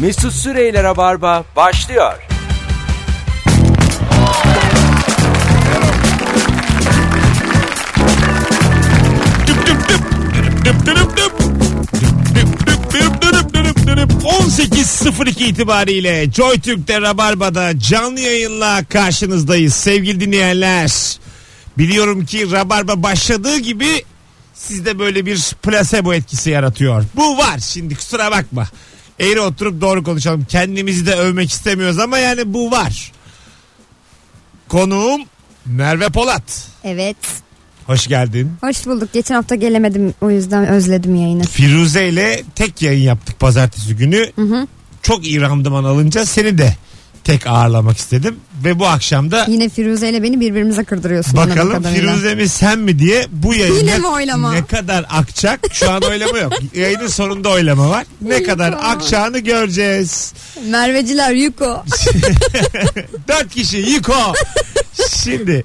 Mesut Süreyler'e barba başlıyor. Düp düp düp. Dürüp düp dürüp düp. Düp düp dürüp dürüp dürüp dürüp. 18.02 itibariyle Joy Türk'te Rabarba'da canlı yayınla karşınızdayız sevgili dinleyenler. Biliyorum ki Rabarba başladığı gibi sizde böyle bir placebo etkisi yaratıyor. Bu var şimdi kusura bakma. Eğri oturup doğru konuşalım. Kendimizi de övmek istemiyoruz ama yani bu var. Konuğum Merve Polat. Evet. Hoş geldin. Hoş bulduk. Geçen hafta gelemedim o yüzden özledim yayını. Firuze ile tek yayın yaptık pazartesi günü. Çok iyi randıman alınca seni de tek ağırlamak istedim. Ve bu akşam da Yine Firuze ile beni birbirimize kırdırıyorsun. anladığım bakalım kadarıyla. Firuze mi sen mi diye bu yayın Yine ne- mi oylama? ne kadar akacak. Şu an oylama yok. Yayının sonunda oylama var. Ne kadar akacağını göreceğiz. Merveciler Yuko. Dört kişi yıko. Şimdi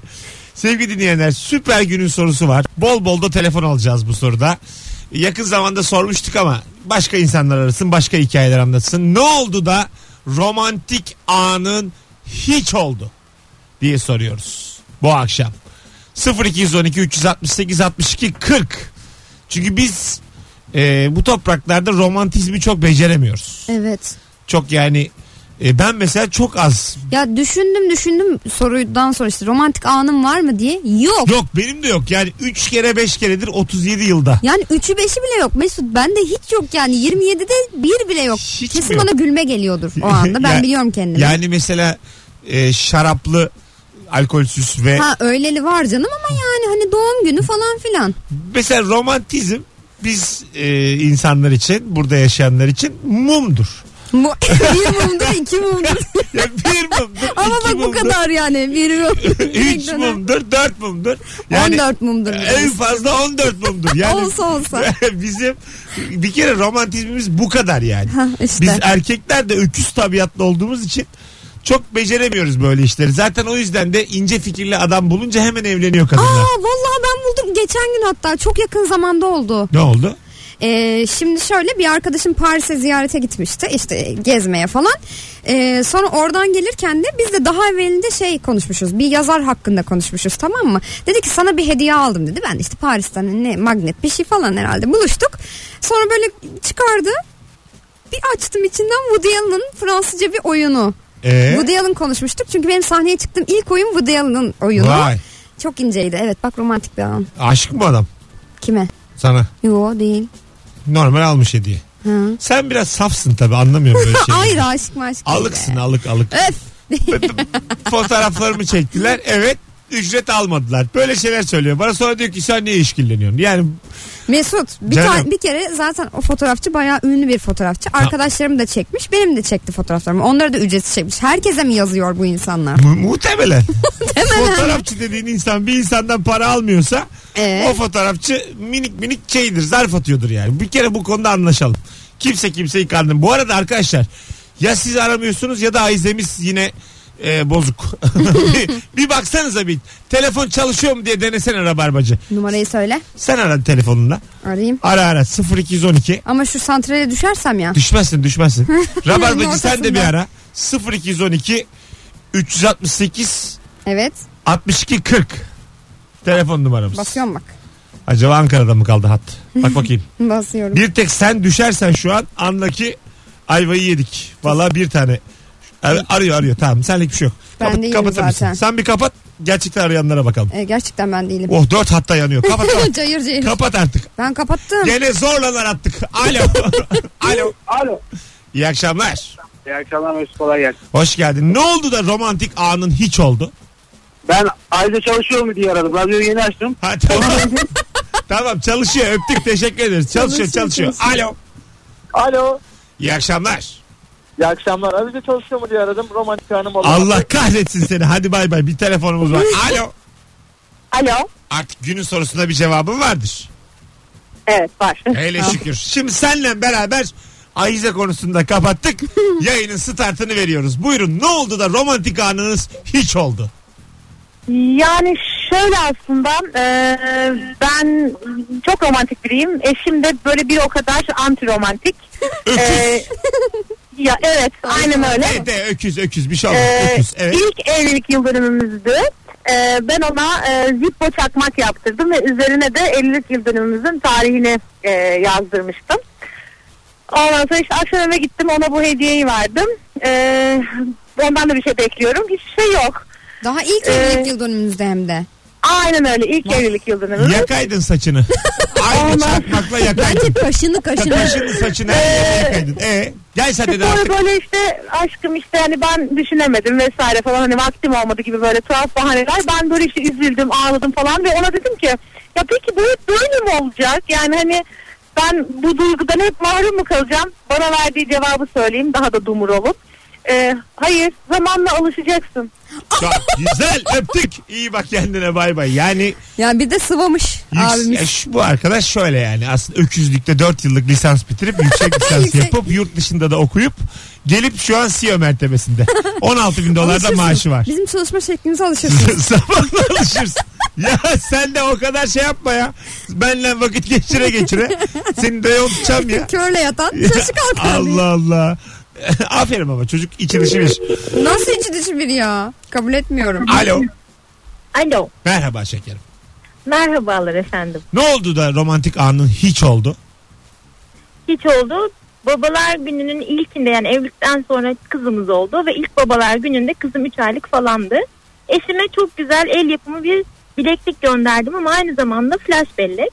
sevgili dinleyenler süper günün sorusu var. Bol bol da telefon alacağız bu soruda. Yakın zamanda sormuştuk ama başka insanlar arasın başka hikayeler anlatsın. Ne oldu da romantik anın hiç oldu diye soruyoruz bu akşam. 0212 368 62 40 çünkü biz e, bu topraklarda romantizmi çok beceremiyoruz. evet. Çok yani e, ben mesela çok az Ya düşündüm düşündüm sorudan sonra işte romantik anım var mı diye. Yok. Yok benim de yok. Yani 3 kere 5 keredir 37 yılda. Yani üçü beşi bile yok Mesut. Bende hiç yok yani 27'de bir bile yok. Hiç mi Kesin yok? bana gülme geliyordur o anda. Ben Ya- biliyorum kendimi. Yani mesela e, şaraplı alkolsüz ve Ha öyleli var canım ama yani hani doğum günü falan filan. mesela romantizm biz e, insanlar için burada yaşayanlar için mumdur. Bu, bir mumdur iki mumdur. Ya bir mumdur, Ama iki bak bu mumdur, kadar yani. Bir mum. üç mumdur, dört mumdur. Yani 14 mumdur. Ee, en fazla 14 mumdur. Yani Olsa olsa. bizim bir kere romantizmimiz bu kadar yani. Ha, işte. Biz erkekler de öküz tabiatlı olduğumuz için çok beceremiyoruz böyle işleri. Zaten o yüzden de ince fikirli adam bulunca hemen evleniyor kadınlar. Aa vallahi ben buldum. Geçen gün hatta çok yakın zamanda oldu. Ne oldu? Ee, şimdi şöyle bir arkadaşım Paris'e ziyarete gitmişti. işte gezmeye falan. Ee, sonra oradan gelirken de biz de daha evvelinde şey konuşmuşuz. Bir yazar hakkında konuşmuşuz tamam mı? Dedi ki sana bir hediye aldım dedi. Ben de işte Paris'ten ne magnet bir şey falan herhalde buluştuk. Sonra böyle çıkardı. Bir açtım içinden Woody Allen'ın Fransızca bir oyunu. Ee? Woody Allen konuşmuştuk. Çünkü benim sahneye çıktığım ilk oyun Woody Allen'ın oyunu. Vay. Çok inceydi. Evet bak romantik bir an. Aşık mı adam Kime? sana? Yo değil. Normal almış hediye. Hı. Sen biraz safsın tabii anlamıyorum böyle şey şeyleri. Hayır aşık mı aşık değil Alıksın be. alık alık. Öf. Fotoğraflarımı çektiler. Evet ücret almadılar. Böyle şeyler söylüyor. Bana sonra diyor ki sen niye işkilleniyorsun? Yani Mesut bir, Canım. tane, bir kere zaten o fotoğrafçı bayağı ünlü bir fotoğrafçı. Arkadaşlarım da çekmiş. Benim de çekti fotoğraflarımı. Onlara da ücretsiz çekmiş. Herkese mi yazıyor bu insanlar? Mu- muhtemelen. fotoğrafçı dediğin insan bir insandan para almıyorsa Evet. o fotoğrafçı minik minik şeydir zarf atıyordur yani. Bir kere bu konuda anlaşalım. Kimse kimseyi kandırmıyor. Bu arada arkadaşlar ya siz aramıyorsunuz ya da Ayzemiz yine e, bozuk. bir, bir baksanıza bir telefon çalışıyor mu diye denesene rabarbacı. Numarayı söyle. Sen ara telefonunla. Arayayım. Ara ara 0212 Ama şu santrale düşersem ya. Düşmezsin düşmezsin. Rabarbacı sen de Ortasında. bir ara 0212 368 Evet. 62 40 telefon numaramız. Basıyorum bak. Acaba Ankara'da mı kaldı hat? Bak bakayım. Basıyorum. bir tek sen düşersen şu an anla ki ayvayı yedik. Valla bir tane. Ar- Arıyor arıyor tamam senlik bir şey yok. Ben değilim kapatır mısın? zaten. Sen bir kapat gerçekten arayanlara bakalım. Ee, gerçekten ben değilim. Oh dört hatta yanıyor. Kapat kapat. cayır cayır. kapat artık. ben kapattım. Gene zorlalar attık. Alo. Alo. Alo. İyi akşamlar. İyi akşamlar Mesut kolay gelsin. Hoş geldin. Ne oldu da romantik anın hiç oldu? Ben ayrıca çalışıyor mu diye aradım. Radyoyu yeni açtım. Ha, tamam. tamam çalışıyor öptük teşekkür ederiz. Çalışıyor çalışıyor. Çalışıyor, Alo. Alo. İyi akşamlar. İyi akşamlar. Ayrıca çalışıyor mu diye aradım. Romantik hanım oldu. Allah kahretsin seni. Hadi bay bay. Bir telefonumuz var. Alo. Alo. Artık günün sorusunda bir cevabın vardır. Evet var. Hele şükür. Şimdi senle beraber Ayize konusunda kapattık. Yayının startını veriyoruz. Buyurun ne oldu da romantik anınız hiç oldu? Yani şöyle aslında e, ben çok romantik biriyim. Eşim de böyle bir o kadar anti romantik. Öküz. E, Ya evet aynen öyle. De, de öküz öküz bir şey olmaz. Ee, öküz. Evet. İlk evlilik yıl dönümümüzdü. Ee, ben ona e, zippo çakmak yaptırdım ve üzerine de evlilik yıl dönümümüzün tarihini e, yazdırmıştım. Ondan sonra işte akşam eve gittim ona bu hediyeyi verdim. Ee, ondan da bir şey bekliyorum. Hiçbir şey yok. Daha ilk Ee, evlilik E? yıl dönümümüzde hem de. Aynen öyle ilk evlilik yıl dönümümüz. Yakaydın saçını. Aynı Olmaz. çakmakla yakaydın. Bence kaşını kaşını. Kaşını saçını her yerine yakaydın. E, gel sen dedi Sonra artık. böyle işte aşkım işte hani ben düşünemedim vesaire falan hani vaktim olmadı gibi böyle tuhaf bahaneler. Ben böyle işte üzüldüm ağladım falan ve ona dedim ki ya peki bu hep böyle mi olacak? Yani hani ben bu duygudan hep mahrum mu kalacağım? Bana verdiği cevabı söyleyeyim daha da dumur olup. Ee, hayır zamanla alışacaksın. Çok güzel öptük. İyi bak kendine bay bay. Yani yani bir de sıvamış Yüks- abimiz. Ya şu- bu arkadaş şöyle yani aslında öküzlükte 4 yıllık lisans bitirip yüksek lisans Yüksek. yapıp yurt dışında da okuyup gelip şu an CEO mertebesinde. 16 bin dolar da Alışırsınız. maaşı var. Bizim çalışma şeklimize alışırsınız. Zamanla alışırsın. Ya sen de o kadar şey yapma ya. Benle vakit geçire geçire. Seni de yontacağım ya. Körle yatan çalışık Allah kalkan. Allah. Aferin baba çocuk içi dışı bir. Nasıl içi dışı biri ya? Kabul etmiyorum. Alo. Alo Merhaba şekerim. merhabalar efendim. Ne oldu da romantik anın hiç oldu? Hiç oldu. Babalar gününün ilkinde yani evlilikten sonra kızımız oldu ve ilk babalar gününde kızım 3 aylık falandı. Eşime çok güzel el yapımı bir bileklik gönderdim ama aynı zamanda flash bellek.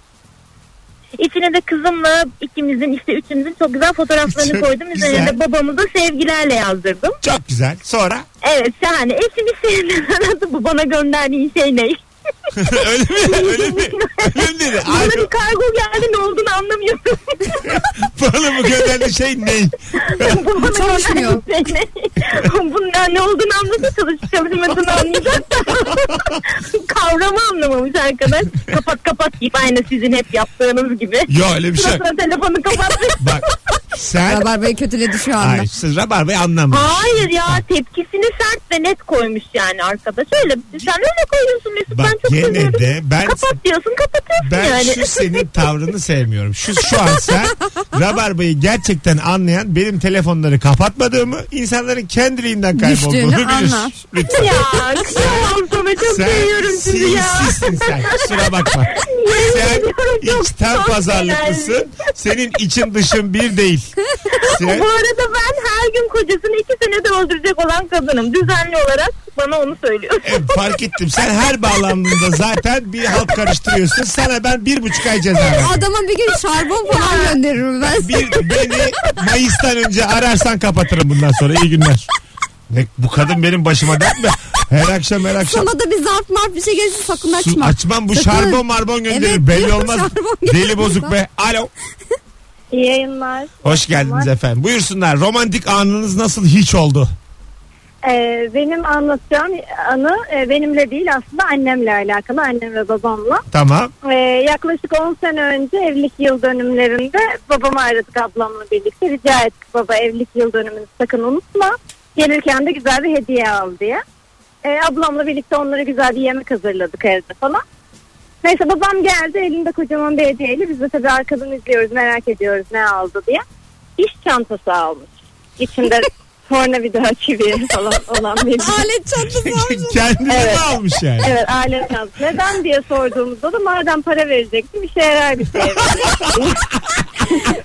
İçine de kızımla ikimizin işte üçümüzün çok güzel fotoğraflarını Çok koydum. Üzerine güzel. de babamıza sevgilerle yazdırdım. Çok güzel. Sonra? Evet şahane. Eşim hiç sevmedi. Bu bana gönderdiğin şey ne? Öyle mi? Öyle mi? Öyle mi dedi? Bana Ay, bir kargo geldi ne olduğunu anlamıyorum. Bana mı gönderdiği şey ne? Bu bana Çalışmıyor. gönderdi seni. Bunun ne- ne olduğunu anladı çalışıp çalışmadığını anlayacak da. Kavramı anlamamış arkadaş. Kapat kapat deyip aynı sizin hep yaptığınız gibi. Yok öyle bir şey yok. Sırasına telefonu kapattı. Bak sen... Rabarba'yı kötüledi şu anda. Ay, siz Rabarba'yı anlamıyor. Hayır ya tepkisini sert ve net koymuş yani arkadaş. Öyle sen öyle koyuyorsun Mesut Bak ben çok gene seviyorum. de ben- Kapat diyorsun kapatıyorsun Ben yani. şu senin tavrını sevmiyorum. Şu şu an sen Rabarba'yı gerçekten anlayan benim telefonları kapatmadığımı, insanların kendiliğinden kaybolduğunu Düştüğünü bilir. anla. Lütfen. ya kıyamam sana çok Sen seviyorum sizi ya. sinsisin sen. Kusura bakma. Yemin Sen ediyorum çok- içten çok pazarlıklısın. helal. Senin için dışın bir değil. Sen, Bu arada ben her gün kocasını iki senede öldürecek olan kadınım. Düzenli olarak bana onu söylüyor. E, fark ettim. Sen her bağlamında zaten bir halt karıştırıyorsun. Sana ben bir buçuk ay ceza verdim. Adama bir gün şarbon falan gönderirim ben. Bir, beni Mayıs'tan önce ararsan kapatırım bundan sonra. İyi günler. Ne, bu kadın benim başıma dert mi? Her akşam her akşam. Sana da bir zarf marf bir şey gelirse sakın Su- açma. açmam bu Sakın. şarbon marbon gönderir. Evet, Belli olmaz. şarbon Deli gönderir. bozuk be. Alo. İyi yayınlar. Hoş geldiniz efendim. Buyursunlar. Romantik anınız nasıl hiç oldu? Ee, benim anlatacağım anı e, benimle değil aslında annemle alakalı. Annem ve babamla. Tamam. Ee, yaklaşık 10 sene önce evlilik yıl dönümlerinde babamı aradık ablamla birlikte. Rica ettik baba evlilik yıl dönümünü sakın unutma. Gelirken de güzel bir hediye al diye. Ee, ablamla birlikte onlara güzel bir yemek hazırladık evde falan. Neyse babam geldi elinde kocaman bir hediyeyle. Biz de tabii arkadan izliyoruz merak ediyoruz ne aldı diye. İş çantası almış. İçinde tornavida gibi falan olan bir Alet çantası var. Kendini Evet. mi almış yani? Evet aile çantası. Neden diye sorduğumuzda da madem para verecekti bir şeye yarar bir şey.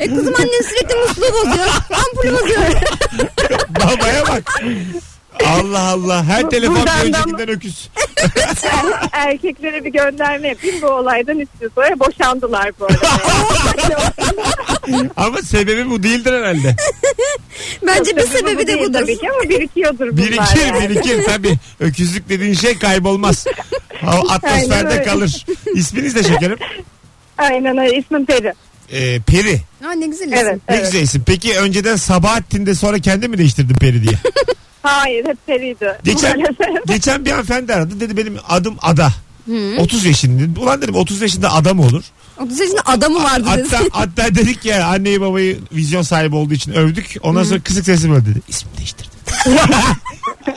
E kızım annen sürekli musluğu bozuyor. Ampulü bozuyor. Babaya bak. Allah Allah. Her telefon bir buradan da- öncekinden öküz. Erkeklere bir gönderme yapayım bu olaydan üç yıl sonra boşandılar bu arada. Ama sebebi bu değildir herhalde. Bence bir Tabii sebebi de değil budur. Tabii ki ama birikiyordur bunlar. Birikir yani. birikir tabii. Öküzlük dediğin şey kaybolmaz. Ha- Aynen Atmosferde öyle. kalır. İsminiz de şekerim. Aynen öyle ismim Peri. Ee, Peri. Aa, ne güzel Evet. isim. Ne güzel isim. Peki önceden Sabahattin de sonra kendi mi değiştirdin Peri diye? Hayır hep Peri'ydi. Geçen, Maalesef. geçen bir hanımefendi aradı. Dedi benim adım Ada. 30 yaşında. Ulan dedim 30 yaşında ada mı olur? 30 yaşında adamı vardı dedi. Hatta, hatta dedik ya anneyi babayı vizyon sahibi olduğu için övdük. Ondan sonra kısık sesi böyle dedi. İsmi değiştirdim.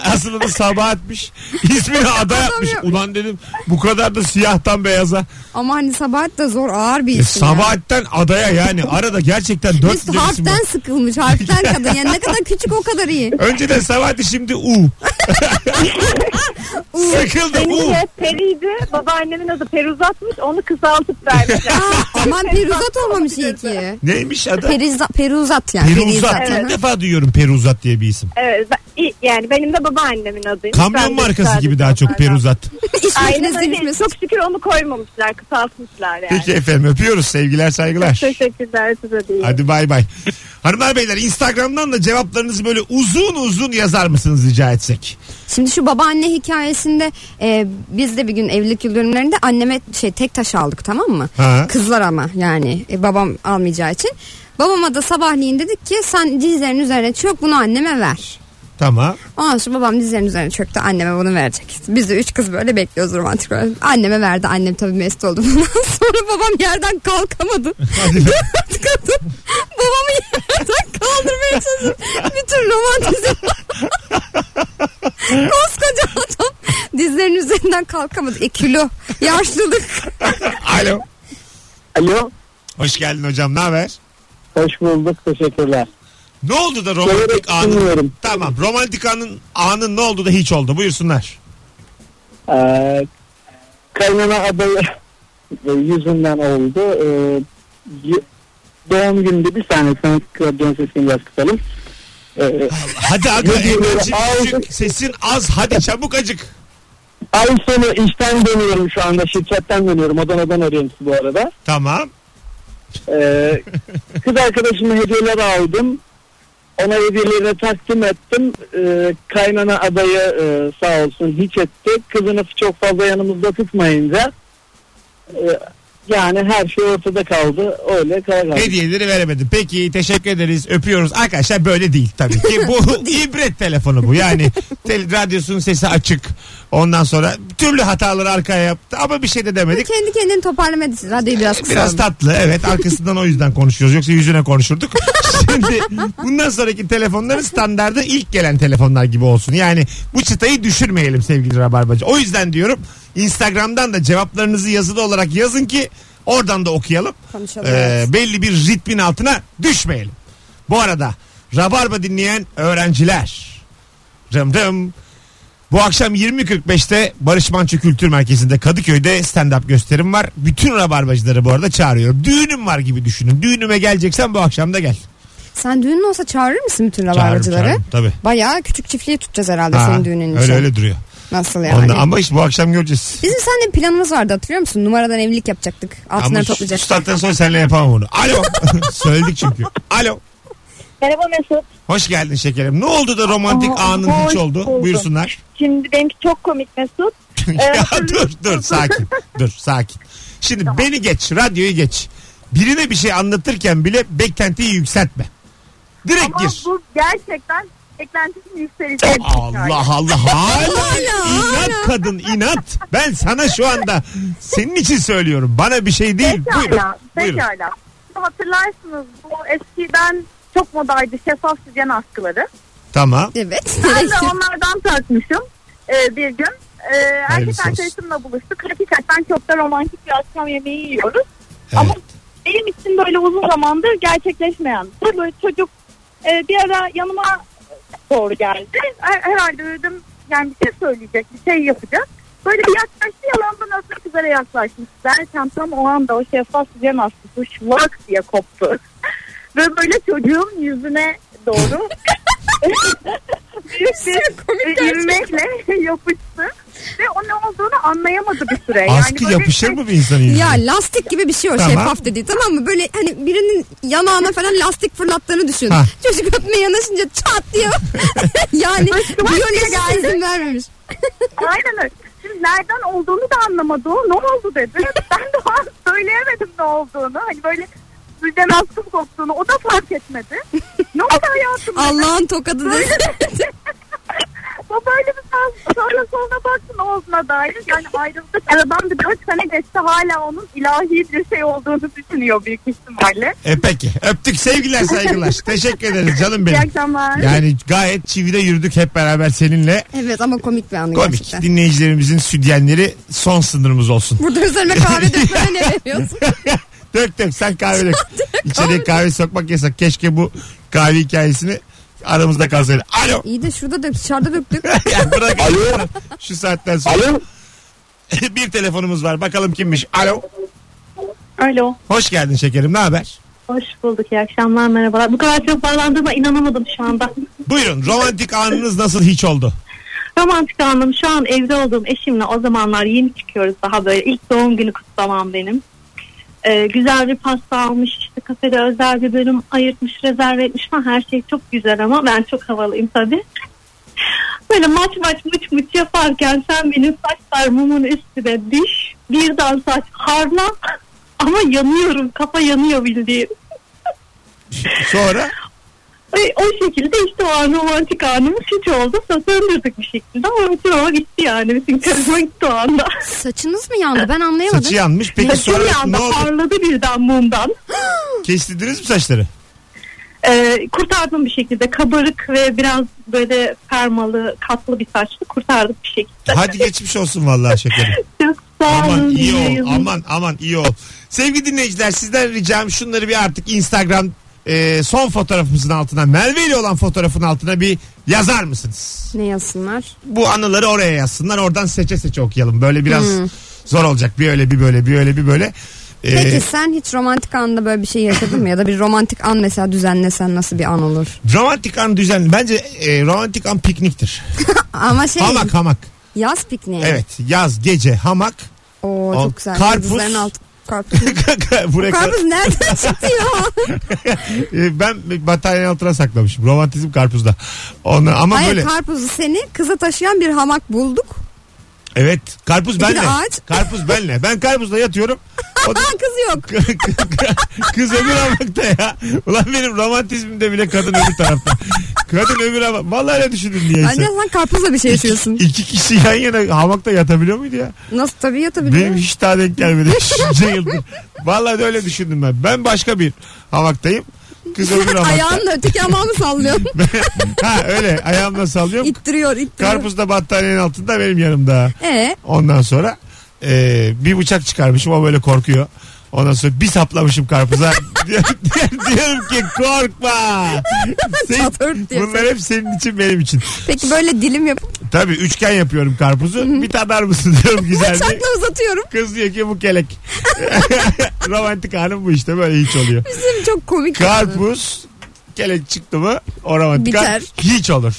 Aslında da sabah atmış. İsmini ada yapmış. Ulan dedim bu kadar da siyahtan beyaza. Ama hani Sabahat da zor ağır bir E, isim. yani. Sabahattan adaya yani. Arada gerçekten dört Üst bile isim var. harften sıkılmış harften kadın. Yani ne kadar küçük o kadar iyi. Önceden Sabahati şimdi U. Sıkıldı Benim U. de Peri'ydi. Babaannemin adı Peruzat'mış. Onu kısaltıp vermişler. Aa, aman peruzat olmamış iyi ki. Neymiş adı? Periza, peruzat yani. Peruzat. Perizat, İlk aha. defa duyuyorum Peruzat diye bir isim. evet, ben- i- yani benim de babaannemin adıymış. Ben Kamyon de markası sadece gibi daha çok onlardan. Peruzat. İş Aynen makinesi öyle. bilmiyorsun. Çok şükür onu koymamışlar. Kısaltmışlar yani. Peki efendim öpüyoruz sevgiler saygılar. Teşekkürler size de iyi. Hadi bay bay. Hanımlar beyler Instagram'dan da cevaplarınızı böyle uzun uzun yazar mısınız rica etsek? Şimdi şu babaanne hikayesinde e, biz de bir gün evlilik yıl dönümlerinde anneme şey tek taş aldık tamam mı? Ha. Kızlar ama yani e, babam almayacağı için. Babama da sabahleyin dedik ki sen dizlerin üzerine çök bunu anneme ver. Tamam. Ondan sonra babam dizlerinin üzerine çöktü anneme bunu verecek. Biz de üç kız böyle bekliyoruz romantik olarak. Anneme verdi annem tabii mesut oldu. Bundan sonra babam yerden kalkamadı. Hadi. Kadın babamı yerden kaldırmaya çalışıp bir tür romantizm. Koskoca adam dizlerinin üzerinden kalkamadı. E kilo, yaşlılık. Alo. Alo. Hoş geldin hocam ne haber? Hoş bulduk. Teşekkürler. Ne oldu da Severek romantik anın? dinliyorum. Tamam romantik anın, anın ne oldu da hiç oldu buyursunlar. Ee, kaynana adayı e, yüzünden oldu. Ee, y- doğum gününde bir saniye sana radyon sesini biraz kısalım. Ee, Hadi aga Ne diyor böyle? Emre'cim Aldı. küçük, sesin az hadi çabuk acık. ay sonu işten dönüyorum şu anda. Şirketten dönüyorum. Adana'dan arıyorum sizi bu arada. Tamam. Ee, kız arkadaşıma hediyeler aldım. Ona hediyelerini takdim ettim. Ee, kaynana adayı e, sağ olsun hiç etti. Kızını çok fazla yanımızda tutmayınca e, yani her şey ortada kaldı. Öyle kara kaldı. Hediyeleri veremedim. Peki teşekkür ederiz. Öpüyoruz. Arkadaşlar böyle değil tabii ki. Bu ibret telefonu bu. Yani tel, radyosunun sesi açık. Ondan sonra türlü hataları arkaya yaptı ama bir şey de demedik. Kendi kendini toparlamadı. Radyoyu biraz kısalım. Biraz tatlı evet arkasından o yüzden konuşuyoruz yoksa yüzüne konuşurduk. Şimdi bundan sonraki telefonların standardı ilk gelen telefonlar gibi olsun. Yani bu çıtayı düşürmeyelim sevgili Rabarbacı. O yüzden diyorum Instagram'dan da cevaplarınızı yazılı olarak yazın ki oradan da okuyalım. Konuşalım, Ee, evet. belli bir ritmin altına düşmeyelim. Bu arada Rabarba dinleyen öğrenciler. Rım rım. Bu akşam 20.45'te Barış Manço Kültür Merkezi'nde Kadıköy'de stand-up gösterim var. Bütün rabarbacıları bu arada çağırıyorum. Düğünüm var gibi düşünün. Düğünüme geleceksen bu akşam da gel. Sen düğünün olsa çağırır mısın bütün Çağırırım, rabarbacıları? çağırırım, tabii. Bayağı küçük çiftliği tutacağız herhalde Ha, senin düğünün için. Öyle öyle duruyor. Nasıl yani? Ondan- ama işte bu akşam göreceğiz. Bizim seninle bir planımız vardı hatırlıyor musun? Numaradan evlilik yapacaktık. Ama Altınları şu şu toplayacaktık. saatten sonra seninle yapamam onu. Alo. Söyledik çünkü. Alo. Merhaba Mesut. Hoş geldin şekerim. Ne oldu da romantik Aa, anın hiç hoş oldu? buldum. Buyursunlar. Şimdi benimki çok komik Mesut. ya Ee, dur dur sakin. Dur sakin. Şimdi beni geç, radyoyu geç. Birine bir şey anlatırken bile beklentiyi yükseltme. Direkt Ama gir. bu gerçekten beklentisini yükselecek. bir hikaye. Allah Allah hala inat hala. kadın inat. Ben sana şu anda senin için söylüyorum. Bana bir şey değil. Buyurun. Pekala, Buyurun. pekala. Hatırlarsınız bu eskiden çok modaydı şeffaf sütyen askıları. Tamam. Evet. Ben de onlardan takmışım e, bir gün. E, erkek Hayırlısı olsun. arkadaşımla buluştuk. Hakikaten çok da romantik bir akşam yemeği yiyoruz. Evet. Ama benim için böyle uzun zamandır gerçekleşmeyen. Böyle çocuk e, bir ara yanıma doğru geldi. Her- Herhalde dedim yani bir şey söyleyecek, bir şey yapacak. Böyle bir yaklaştı yalandan öpmek üzere yaklaşmış. Derken tam o anda o şeffaf cam askısı şlak diye koptu. Ve böyle çocuğun yüzüne doğru büyük bir ivmekle yapıştı. Ve o ne olduğunu anlayamadı bir süre. Askı böyle yapışır şey- mı bir insanın yüzüne? Ya lastik gibi bir şey o Tamam. şeffaf dediği tamam mı? Böyle hani birinin yanağına falan lastik fırlattığını düşün. Ha. Çocuk öpmeye yanaşınca çat diyor. yani biyolojisi izin vermemiş. Aynen öyle. Şimdi nereden olduğunu da anlamadı o. Ne oldu dedi. Ben de o an söyleyemedim ne olduğunu. Hani böyle sizden askım koptuğunu. O da fark etmedi. Ne oldu hayatım? dedi. Allah'ın tokadı desin. Bu böyle bir saz. Sonra sonra baktım Oğuz'la dair. Yani ayrıldık. Aradan bir dört sene geçti hala onun ilahi bir şey olduğunu düşünüyor büyük ihtimalle. E peki. Öptük sevgiler saygılar. Teşekkür ederiz canım İyi benim. akşamlar. Yani gayet çivide yürüdük hep beraber seninle. Evet ama komik bir anı Komik. gerçekten. Dinleyicilerimizin südyenleri son sınırımız olsun. Burada üzerime kahve dökmene ne veriyorsun? dök dök sen kahve dök. İçeriye kahve sokmak yasak. Keşke bu kahve hikayesini aramızda kalsaydı. Alo. İyi de şurada dök dışarıda döktük. Ya bırak Alo. şu saatten sonra. Alo. bir telefonumuz var. Bakalım kimmiş. Alo. Alo. Hoş geldin şekerim. Ne haber? Hoş bulduk. İyi akşamlar. Merhabalar. Bu kadar çok bağlandığıma inanamadım şu anda. Buyurun. Romantik anınız nasıl hiç oldu? Romantik anım şu an evli olduğum eşimle o zamanlar yeni çıkıyoruz daha böyle ilk doğum günü kutlamam benim. Ee, güzel bir pasta almış işte kafede özel bir bölüm ayırtmış rezerve etmiş falan her şey çok güzel ama ben çok havalıyım tabii. Böyle maç maç mıç mıç yaparken sen benim saçlar mumun üstüne diş birden saç harla ama yanıyorum kafa yanıyor bildiğin. Sonra Ve o şekilde işte o an romantik anımız hiç oldu. Söndürdük bir şekilde ama bütün o gitti yani. Bütün karıma gitti o anda. Saçınız mı yandı ben anlayamadım. saçı yanmış. Peki Bütün bir sonra ne anda oldu? parladı birden mumdan. Kestirdiniz mi saçları? Ee, kurtardım bir şekilde. Kabarık ve biraz böyle permalı, katlı bir saçlı kurtardık bir şekilde. Hadi geçmiş olsun vallahi şekerim. Çok sağ olun. Aman iyi ol. yayınlar. Aman aman iyi ol. Sevgili dinleyiciler sizden ricam şunları bir artık Instagram e, son fotoğrafımızın altına Merve ile olan fotoğrafın altına bir yazar mısınız? Ne yazsınlar? Bu anıları oraya yazsınlar. Oradan seçe seçe okuyalım. Böyle biraz Hmm. zor olacak. Bir öyle bir böyle bir öyle bir böyle. E, Peki sen hiç romantik anda böyle bir şey yaşadın mı? Ya da bir romantik an mesela düzenlesen nasıl bir an olur? Romantik an düzenli. Bence e, romantik an pikniktir. Ama şey Hamak hamak. yaz pikniği. Evet. Yaz gece hamak. Oo O çok güzel. karpuz. Yıldızların altı. Karpuz. Buraya kadar- karpuz nereden çıktı ya? E, ben bataryanın altına saklamışım. Romantizm karpuzda. Onu, ama Hayır böyle. karpuzu seni kıza taşıyan bir hamak bulduk. Evet. Karpuz de benle. ağaç. Karpuz benle. Ben karpuzla yatıyorum. O da- Aa kız yok. Kız öbür hamakta ya. Ulan benim romantizmimde bile kadın öbür tarafta. Kadın öbür hamak. Vallahi öyle düşündüm Bence niyeyse. sen karpuzla bir şey yaşıyorsun. İki kişi yan yana hamakta yatabiliyor muydu ya? Nasıl tabii Benim yatabiliyor. hiç daha denk gelmedi. Şunca yıldır. Vallahi de öyle düşündüm ben. Ben başka bir hamaktayım. Kız öbür hamakta. Ayağınla öteki hamamı sallıyorsun. ha öyle ayağımla sallıyorum. ittiriyor ittiriyor. Karpuz da battaniyenin altında benim yanımda. Ee, Ondan sonra e, bir bıçak çıkarmışım o böyle korkuyor. Ondan sonra bir saplamışım karpuza. diyorum, diyorum ki korkma. Sen, Çatır diye. bunlar hep senin için benim için. peki böyle dilim yapıp Tabii üçgen yapıyorum karpuzu. bir tadar mısın diyorum güzel diye. bıçakla uzatıyorum. Kız diyor ki bu kelek. romantik hanım bu işte böyle hiç oluyor. Bizim çok komik. Karpuz kelek çıktı mı o romantik Biter. han hiç olur.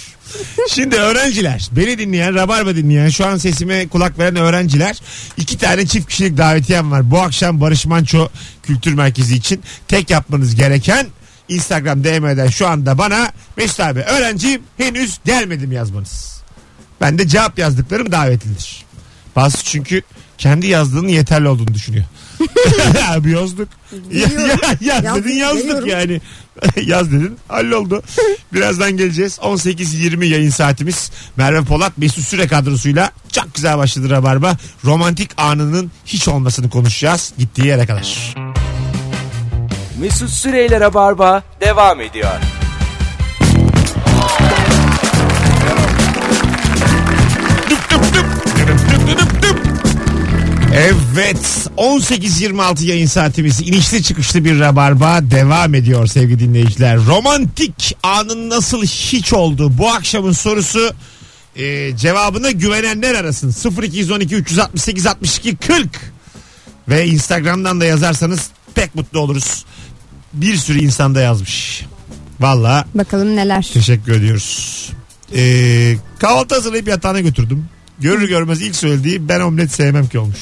Şimdi öğrenciler beni dinleyen Rabarba dinleyen şu an sesime kulak veren öğrenciler iki tane çift kişilik davetiyem var. Bu akşam Barış Manço Kültür Merkezi için tek yapmanız gereken Instagram DM'den şu anda bana Mesut abi öğrenciyim henüz gelmedim yazmanız. Ben de cevap yazdıklarım davetlidir. Bazı çünkü kendi yazdığının yeterli olduğunu düşünüyor. Abi yazdık. Ya, ya, Biliyorum. yaz Yazdık, dedin yazdık biliyorum. yani. yaz dedin halloldu. Birazdan geleceğiz. 18.20 yayın saatimiz. Merve Polat Mesut Süre kadrosuyla çok güzel başladı Rabarba. Romantik anının hiç olmasını konuşacağız. Gittiği yere kadar. Mesut Süreyler'e barba devam ediyor. Düp düp düp. Dürüp düp dürüp düp. Evet 18.26 yayın saatimiz inişli çıkışlı bir rabarba devam ediyor sevgili dinleyiciler. Romantik anın nasıl hiç oldu bu akşamın sorusu e, cevabına güvenenler arasın 0212 368 62 40 ve Instagram'dan da yazarsanız pek mutlu oluruz. Bir sürü insan da yazmış. Valla Bakalım neler. Teşekkür ediyoruz. Ee, kahvaltı hazırlayıp yatağına götürdüm. Görür görmez ilk söylediği ben omlet sevmem ki olmuş.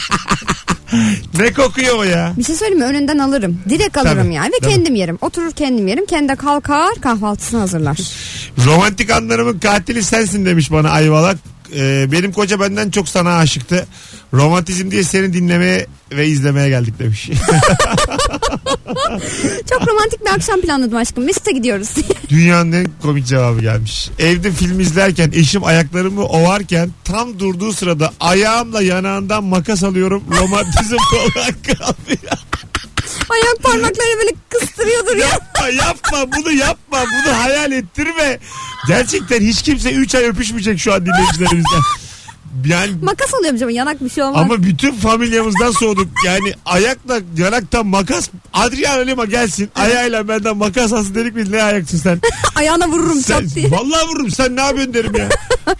ne kokuyor o ya? Bir şey söyleyeyim mi? Önünden alırım. Direkt alırım Tabii, yani. Ve tabii. kendim yerim. Oturur kendim yerim. Kendi kalkar kahvaltısını hazırlar. Romantik anlarımın katili sensin demiş bana Ayvalak. Ee, benim koca benden çok sana aşıktı. Romantizm diye seni dinlemeye ve izlemeye geldik demiş. Çok romantik bir akşam planladım aşkım. Mesut'a gidiyoruz diye. Dünyanın en komik cevabı gelmiş. Evde film izlerken eşim ayaklarımı ovarken tam durduğu sırada ayağımla yanağından makas alıyorum. Romantizm olarak kalmıyor. Ayak parmakları böyle kıstırıyordur ya. yapma yapma bunu yapma bunu hayal ettirme. Gerçekten hiç kimse 3 ay öpüşmeyecek şu an dinleyicilerimizden. Yani Makas alıyorum canım yanak bir şey olmaz. ama bütün familyamızdan soğuduk. Yani ayakla yanaktan makas. Adriana Lima gelsin. Ayağıyla benden makas alsın dedik mi? Ne ayaksın sen? Ayağına vururum çat sen diye. vallahi vururum. Sen ne yapıyorsun derim ya.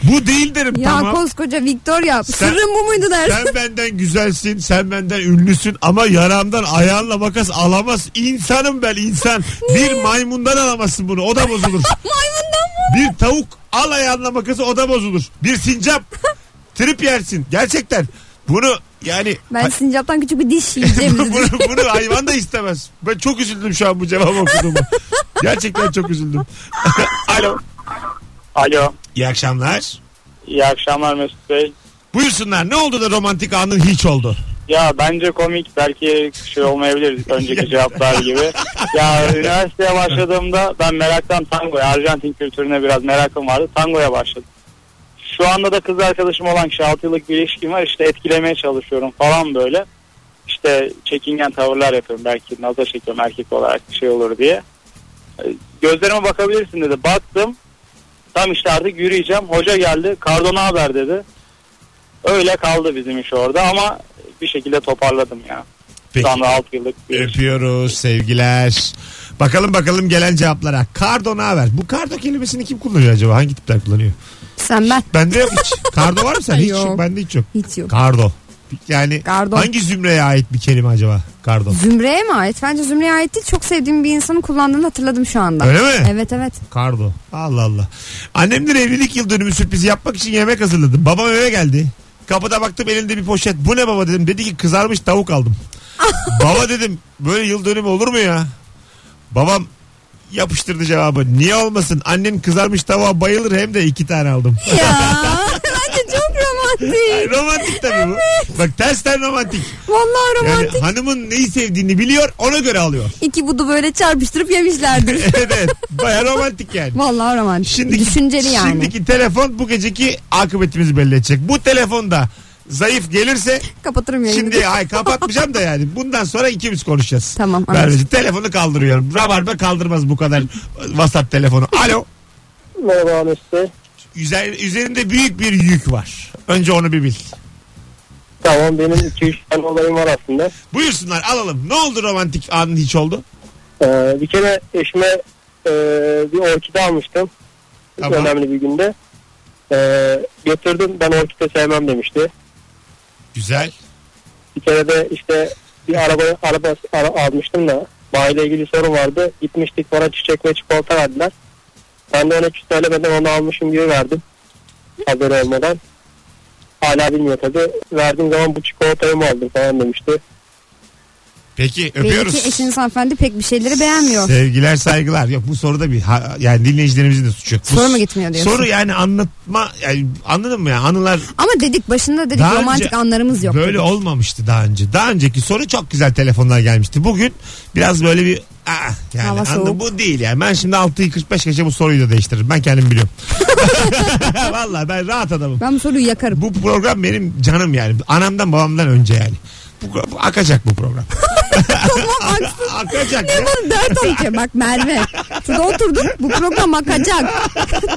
Bu değil derim Ya tamam. koskoca Victoria sırrın bu muydu der. Sen benden güzelsin, sen benden ünlüsün ama yaramdan ayağınla makas alamaz. İnsanım ben insan. Bir maymundan alamazsın bunu o da bozulur. Maymundan mı? Bir tavuk al ayağınla makası o da bozulur. Bir sincap trip yersin gerçekten. Bunu yani Ben sincaptan küçük bir diş yiyeceğim. bunu, bunu hayvan da istemez. Ben çok üzüldüm şu an bu cevabı okuduğuma. Gerçekten çok üzüldüm. Alo. Alo. İyi akşamlar. İyi akşamlar Mesut Bey. Buyursunlar ne oldu da romantik anın hiç oldu? Ya bence komik belki şey olmayabilir önceki cevaplar gibi. Ya üniversiteye başladığımda ben meraktan tangoya, Arjantin kültürüne biraz merakım vardı. Tangoya başladım. Şu anda da kız arkadaşım olan kişi 6 yıllık bir ilişkim var. İşte etkilemeye çalışıyorum falan böyle. İşte çekingen tavırlar yapıyorum. Belki naza çekiyorum erkek olarak bir şey olur diye. E, Gözlerime bakabilirsin dedi. Baktım. Tam işte artık yürüyeceğim. Hoca geldi. Kardo ne haber dedi. Öyle kaldı bizim iş orada ama bir şekilde toparladım ya. Peki. Ee, Şu anda 6 yıllık bir iş. Öpüyoruz sevgiler. Bakalım bakalım gelen cevaplara. Kardo ne haber? Bu kardo kelimesini kim kullanıyor acaba? Hangi tipler kullanıyor? Sen ben. Bende yok hiç. Kardo var mı sen? Hiç Yok. yok. Bende hiç yok. Hiç yok. Kardo. Yani Kardo. hangi zümreye ait bir kelime acaba? Kardo. Zümre'ye mi ait? Bence Zümre'ye ait değil. Çok sevdiğim bir insanın kullandığını hatırladım şu anda. Öyle mi? Evet evet. Kardo. Allah Allah. Annemler evlilik yıl dönümü sürprizi yapmak için yemek hazırladım. Babam eve geldi. Kapıda baktım elinde bir poşet. Bu ne baba dedim. Dedi ki kızarmış tavuk aldım. baba dedim böyle yıl dönümü olur mu ya? Babam yapıştırdı cevabı. Niye olmasın? Annen kızarmış tavuğa bayılır hem de iki tane aldım. Ya bence çok romantik. romantik tabii bu. Bak tersten romantik. Vallahi Yani romantik. hanımın neyi sevdiğini biliyor ona göre alıyor. İki budu böyle çarpıştırıp yemişlerdir. evet evet. Baya romantik yani. Vallahi romantik. Şimdiki, Düşünceli yani. Şimdiki telefon bu geceki akıbetimizi belli edecek. Bu telefonda zayıf gelirse Kapatırım yayını. şimdi ay kapatmayacağım da yani bundan sonra ikimiz konuşacağız. Tamam, Ben anladım. önce telefonu kaldırıyorum. Rabarba kaldırmaz bu kadar WhatsApp telefonu. Alo. Merhaba Mesut Bey. Üzer, üzerinde büyük bir yük var. Önce onu bir bil. Tamam benim 2-3 tane olayım var aslında. Buyursunlar alalım. Ne oldu romantik anın hiç oldu? Ee, bir kere eşime e, bir orkide almıştım. Tamam. Önemli bir günde. Ee, getirdim ben orkide sevmem demişti. Güzel. Bir kere de işte bir araba, araba ara- almıştım da bayiyle ilgili sorun vardı. Gitmiştik bana çiçek ve çikolata verdiler. Ben de ona hiç söylemeden onu almışım gibi verdim. Haberi olmadan. Hala bilmiyor tabii. Verdiğim zaman bu çikolatayı mı aldın falan demişti. Peki öpüyoruz. Belki eşiniz hanımefendi pek bir şeyleri beğenmiyor. Sevgiler saygılar. Yok bu soruda bir ha- yani dinleyicilerimizin de suçu yok. Bu Soru s- mu gitmiyor diyorsun? Soru yani anlatma yani anladın mı ya anılar Ama dedik başında dedik Daha romantik önce anlarımız yok. böyle olmamıştı daha önce. Daha önceki soru çok güzel telefonlar gelmişti. Bugün biraz böyle bir ah, yani Hava anladın soğuk. bu değil yani. Ben şimdi 6'yı 45 geçe bu soruyu da değiştiririm. Ben kendim biliyorum. Valla ben rahat adamım. Ben bu soruyu yakarım. Bu program benim canım yani. Anamdan babamdan önce yani. Bu, bu akacak bu program. Tamam aksın. akacak. ya. Bana dert olacak. Bak Merve. Şurada oturduk. Bu program akacak.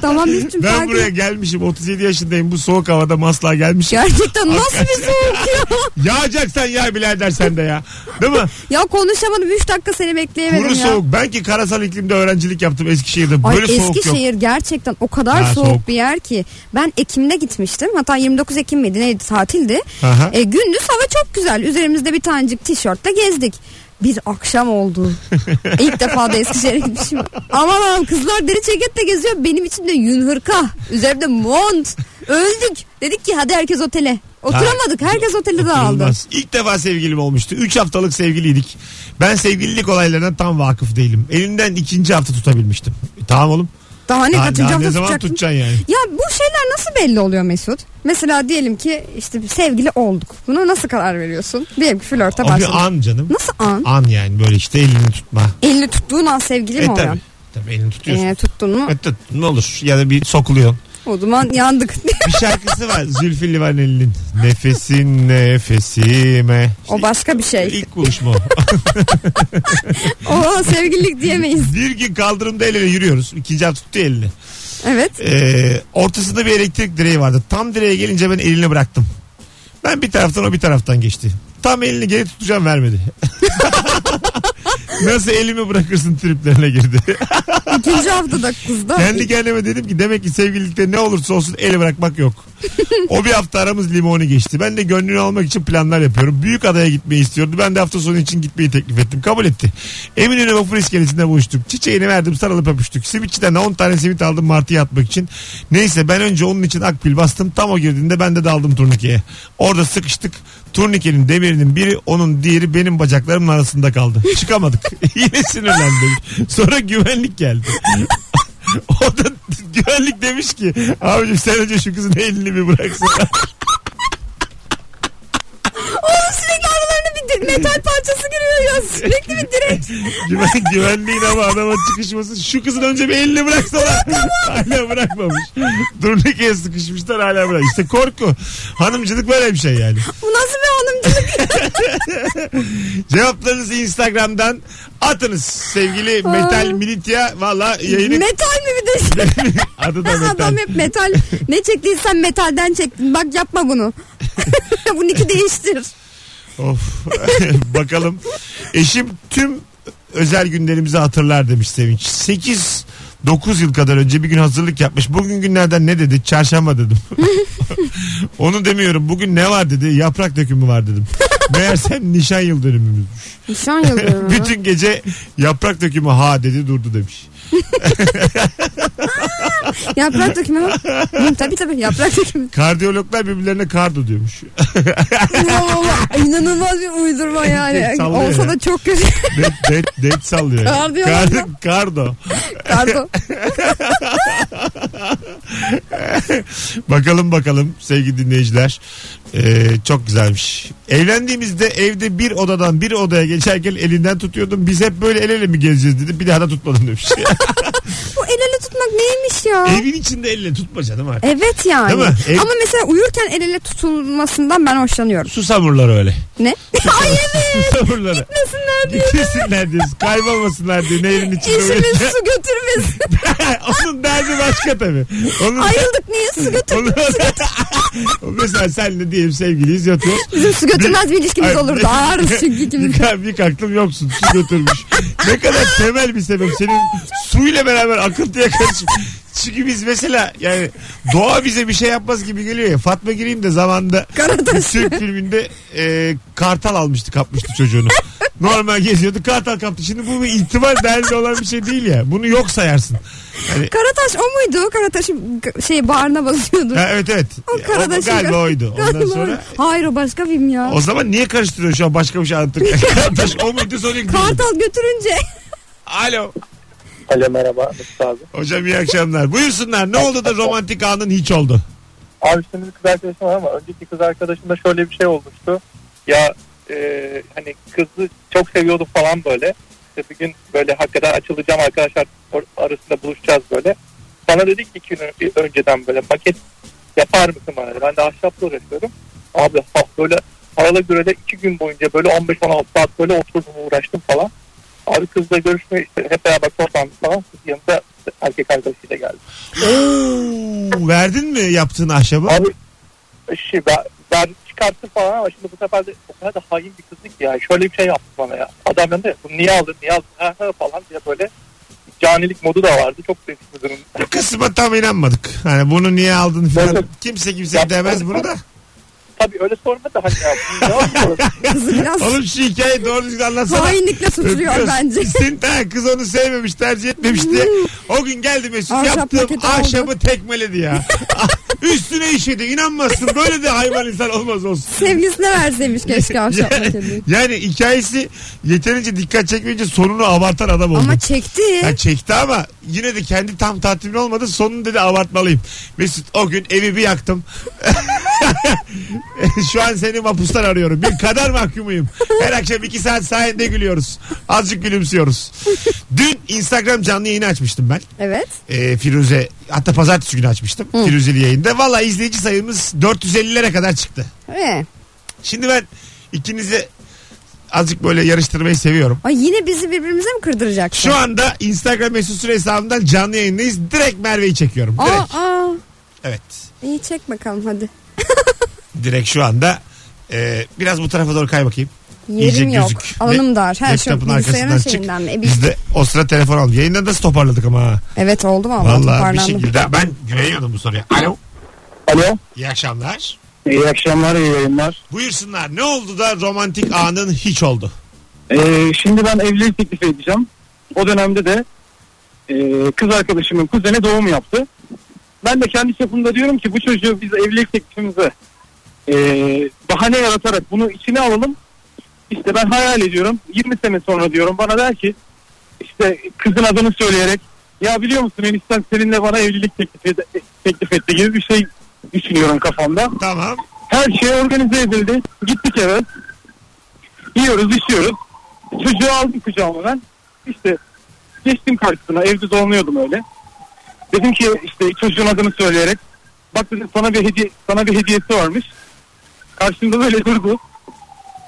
tamam bizim Ben fark buraya yok. gelmişim 37 yaşındayım bu soğuk havada masla gelmişim. Gerçekten nasıl bir soğuk ya? Yağacaksan ya birader sen de ya. Değil mi? Ya konuşamadım. 3 dakika seni bekleyemedim Kuru ya. soğuk. Ben ki karasal iklimde öğrencilik yaptım Eskişehir'de. Ay Böyle soğuk yok. Eskişehir gerçekten o kadar Ha, soğuk, soğuk. bir yer ki. Ben Ekim'de gitmiştim. Hatta 29 Ekim miydi neydi tatildi. Aha. E, gündüz hava çok güzel. Üzerimizde bir tanecik tişörtle gezdik. Bir akşam oldu. İlk defa da Eskişehir'e gitmişim. Aman aman kızlar deri ceketle geziyor. Benim içimde yün hırka. Üzerimde mont. Öldük. Dedik ki hadi herkes otele. Oturamadık. Herkes otelde dağıldı. Olmaz. İlk defa sevgilim olmuştu. 3 haftalık sevgiliydik. Ben sevgililik olaylarına tam vakıf değilim. Elinden ikinci hafta tutabilmiştim. E, tamam oğlum. Daha ne Daha- tutacağım daha ne da zaman tutacaktım. tutacaksın yani? Ya bu şeyler nasıl belli oluyor Mesut? Mesela diyelim ki işte bir sevgili olduk. Buna nasıl karar veriyorsun? Diyelim ki flörte O bir başladık. an canım. Nasıl an? An yani böyle işte elini tutma. Elini tuttuğun an sevgili mi e oluyor? tabi. Tabi elini tutuyorsun. Ee, tuttun mu E, tut, ne olur ya da bir sokuluyorsun. o zaman yandık. Bir şarkısı var Zülfü Livaneli'nin. Nefesin nefesime. o başka bir şey. İlk buluşma o. O sevgililik diyemeyiz. bir gün kaldırımda el ele yürüyoruz. İkinci hafta tuttu elini. Evet. Ee, ortasında bir elektrik direği vardı. Tam direğe gelince ben elini bıraktım. Ben bir taraftan o bir taraftan geçti. Tam elini geri tutacağım vermedi. Nasıl elimi bırakırsın triplerine girdi. İkinci haftada kızda. Kendi kendime dedim ki demek ki sevgililikte ne olursa olsun eli bırakmak yok. o bir hafta aramız limonu geçti. Ben de gönlünü almak için planlar yapıyorum. Büyük adaya gitmeyi istiyordu. Ben de hafta sonu için gitmeyi teklif ettim. Kabul etti. Eminönü vapur iskelesinde buluştuk. Çiçeğini verdim sarılıp öpüştük. Simitçiden de 10 tane simit aldım martıya atmak için. Neyse ben önce onun için akbil bastım. Tam o girdiğinde ben de daldım turnikeye. Orada sıkıştık. Turnikenin demirinin biri onun diğeri benim bacaklarımın arasında kaldı. Çıkamadık. Yine sinirlendim. Sonra güvenlik geldi. O da güvenlik demiş ki abicim sen önce şu kızın elini bir bıraksana. Oğlum sürekli aralarına bir di- metal parçası giriyor ya. Sürekli bir direk. Güven, güvenliğin ama adama çıkışması şu kızın önce bir elini bıraksana. hala bırakmamış. Durnikeye sıkışmışlar hala bırak. İşte korku. Hanımcılık böyle bir şey yani. Bu nasıl bir hanımcılık? Cevaplarınızı Instagram'dan atınız sevgili Metal Militia. Valla yayını metal mi bir de? şey? adı da metal. Adam hep metal. Ne çektiysen metalden çektin. Bak yapma bunu. bunu iki değiştir. Of. Bakalım. Eşim tüm özel günlerimizi hatırlar demiş Sevinç. 8 9 yıl kadar önce bir gün hazırlık yapmış. Bugün günlerden ne dedi? Çarşamba dedim. Onu demiyorum. Bugün ne var dedi? Yaprak dökümü var dedim. Meğersem nişan yıl dönümümüzmüş. Nişan yıldönümü. Bütün gece yaprak dökümü ha dedi durdu demiş. Yaprak dökümü mü? Hı, tabii tabii yaprak dökümü. Kardiyologlar birbirlerine kardo diyormuş. Wow, inanılmaz bir uydurma yani. Sallıyor Olsa ya. da çok kötü. Net, net, net sallıyor. Kardiyo- Kar, kardo. Pardon. Bakalım bakalım sevgili dinleyiciler. Ee, çok güzelmiş. Evlendiğimizde evde bir odadan bir odaya geçerken elinden tutuyordum. Biz hep böyle el ele mi gezeceğiz dedi. Bir daha da tutmadım demiş. Bu el ele tutmak neymiş ya? Evin içinde elle tutma canım artık. Evet yani. Değil mi? Ev- Ama mesela uyurken el ele tutulmasından ben hoşlanıyorum. Susamurlar öyle. Ne? Ay evet. Susamurlar. Gitmesinler diye. Gitmesinler diyoruz. Kaybolmasınlar diye nehrin içinde. Eşimiz böyle. su götürmesin. Onun derdi başka tabii. Onun, Ayrıldık niye su götür? onun, mesela senle diyelim sevgiliyiz yatıyoruz. Bizim su götürmez bir ilişkimiz Ay, olurdu. Ağırız çünkü ikimiz. Bir, şey- ka- bir kalktım yoksun su götürmüş. ne kadar temel bir sebep. Senin suyla beraber akıntıya karışıp. Çünkü biz mesela yani doğa bize bir şey yapmaz gibi geliyor ya. Fatma gireyim de zamanda Karataş. Türk filminde e, kartal almıştı kapmıştı çocuğunu. Normal geziyordu kartal kaptı. Şimdi bu bir ihtimal değerli olan bir şey değil ya. Bunu yok sayarsın. Hani, Karataş o muydu? Karataş'ın g- şey bağrına basıyordu. ha, evet evet. O Karataş'ın. galiba oydu. Ondan Galiba sonra oydu. Hayır o başka film ya. o zaman niye karıştırıyor şu an başka bir şey anlatırken? Kardeş o muydu sonra gidiyordu. Kartal götürünce. Alo. Alo merhaba Mesut abi. Hocam iyi akşamlar. Buyursunlar. Ne oldu da romantik anın hiç oldu? Abi şimdi bir kız arkadaşım var ama önceki kız arkadaşımda şöyle bir şey olmuştu. Ya e, hani kızı çok seviyorduk falan böyle. İşte bir gün böyle hakikaten açılacağım arkadaşlar or- arasında buluşacağız böyle. Bana dedi ki iki gün ö- önceden böyle paket yapar mısın bana? dedi. Ben de ahşapla uğraşıyorum. Abi ha, böyle arala göre de iki gün boyunca böyle 15-16 saat böyle oturdum uğraştım falan. Abi kızla görüşme işte hep beraber toplandık falan. Kız yanında erkek arkadaşıyla geldi. Oo, verdin mi yaptığın ahşabı? Abi şey ben, ben çıkarttım falan ama şimdi bu sefer de o kadar da hain bir kızdı ki ya. Şöyle bir şey yaptı bana ya. Adam yanında ya, bunu niye aldın niye aldın ha, ha falan diye böyle canilik modu da vardı. Çok değişik bir durum. Bu kısma tam inanmadık. Hani bunu niye aldın falan. Evet. Kimse kimse demez bunu da. Tabii öyle sorma da hani ya. bunu ne yapıyorsun? Kızı biraz Oğlum şu hikayeyi doğru düzgün anlatsana. hainlikle suçluyor Öpüyoruz. bence. Hmm. Senin ta kız onu sevmemiş tercih etmemiş diye. O gün geldi Mesut Ahşap yaptığım paketi ahşabı tekmeledi ya. Üstüne işedi. İnanmazsın. Böyle de hayvan insan olmaz olsun. Sevgilisine verseymiş keşke şey ahşap makineyi. Yani hikayesi yeterince dikkat çekmeyince sonunu abartan adam oldu. Ama çekti. Ya çekti ama yine de kendi tam tatmin olmadı. Sonunu dedi abartmalıyım. Mesut o gün evi bir yaktım. Şu an seni mapustan arıyorum. Bir kadar mahkumuyum. Her akşam iki saat sayende gülüyoruz. Azıcık gülümsüyoruz. Dün Instagram canlı yayını açmıştım ben. Evet. Ee, Firuze hatta pazartesi günü açmıştım. Firuzeli yayında. Valla izleyici sayımız 450'lere kadar çıktı. Ee, Şimdi ben ikinizi azıcık böyle yarıştırmayı seviyorum. Ay yine bizi birbirimize mi kırdıracaksın? Şu anda Instagram mesut süre hesabımdan canlı yayındayız. Direkt Merve'yi çekiyorum. Aa, Direkt. aa. Evet. İyi çek bakalım hadi. Direkt şu anda. Ee, biraz bu tarafa doğru kay bakayım. Yerim İyice yok. gözük. Alanım dar. Her şey Laptopun bilgisayarın arkasından çık. şeyinden mi? E, bir- Biz de o sıra telefon aldık. Yayında nasıl toparladık ama. ha. Evet oldu mu? Vallahi bir Toparlandım. şekilde. Ben güveniyordum bu soruya. Alo. Alo. İyi akşamlar. İyi akşamlar, iyi yayınlar. Buyursunlar. Ne oldu da romantik anın hiç oldu? Ee, şimdi ben evlilik teklif edeceğim. O dönemde de e, kız arkadaşımın kuzeni doğum yaptı. Ben de kendi çapımda diyorum ki bu çocuğu biz evlilik teklifimize e, bahane yaratarak bunu içine alalım. İşte ben hayal ediyorum. 20 sene sonra diyorum bana der ki işte kızın adını söyleyerek ya biliyor musun enişten seninle bana evlilik teklif, ed- teklif etti gibi bir şey düşünüyorum kafamda. Tamam. Her şey organize edildi. Gittik eve. Yiyoruz, içiyoruz. Çocuğu aldım kucağıma ben. İşte geçtim karşısına. Evde dolanıyordum öyle. Dedim ki işte çocuğun adını söyleyerek. Bak dedim sana bir hediye, Şey, sana bir hediyesi varmış. Karşımda böyle durdu.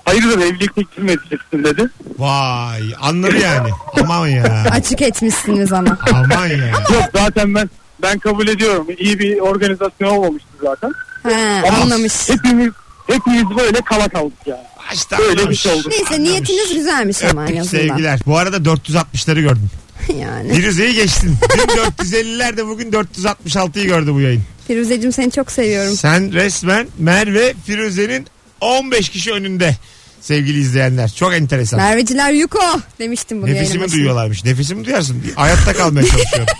Hayırdır evlilik teklif mi edeceksin dedi. Vay anladı yani. Aman ya. Açık etmişsiniz ama. Aman ya. Yok zaten ben ben kabul ediyorum. İyi bir organizasyon olmamıştı zaten. He, Ama- anlamış. Hepimiz hepimiz böyle kala kaldık yani. İşte Böyle bir anlamış. şey oldu. Neyse niyetiniz güzelmiş ama en Öptük azından. sevgiler. Bu arada 460'ları gördüm. Yani. Firuze'yi geçtin. Dün 450'lerde bugün 466'yı gördü bu yayın. Firuzeciğim seni çok seviyorum. Sen resmen Merve Firuze'nin 15 kişi önünde sevgili izleyenler. Çok enteresan. Merveciler Yuko demiştim bunu yayının Nefesimi başında. duyuyorlarmış. Nefesimi duyarsın. Hayatta kalmaya çalışıyorum.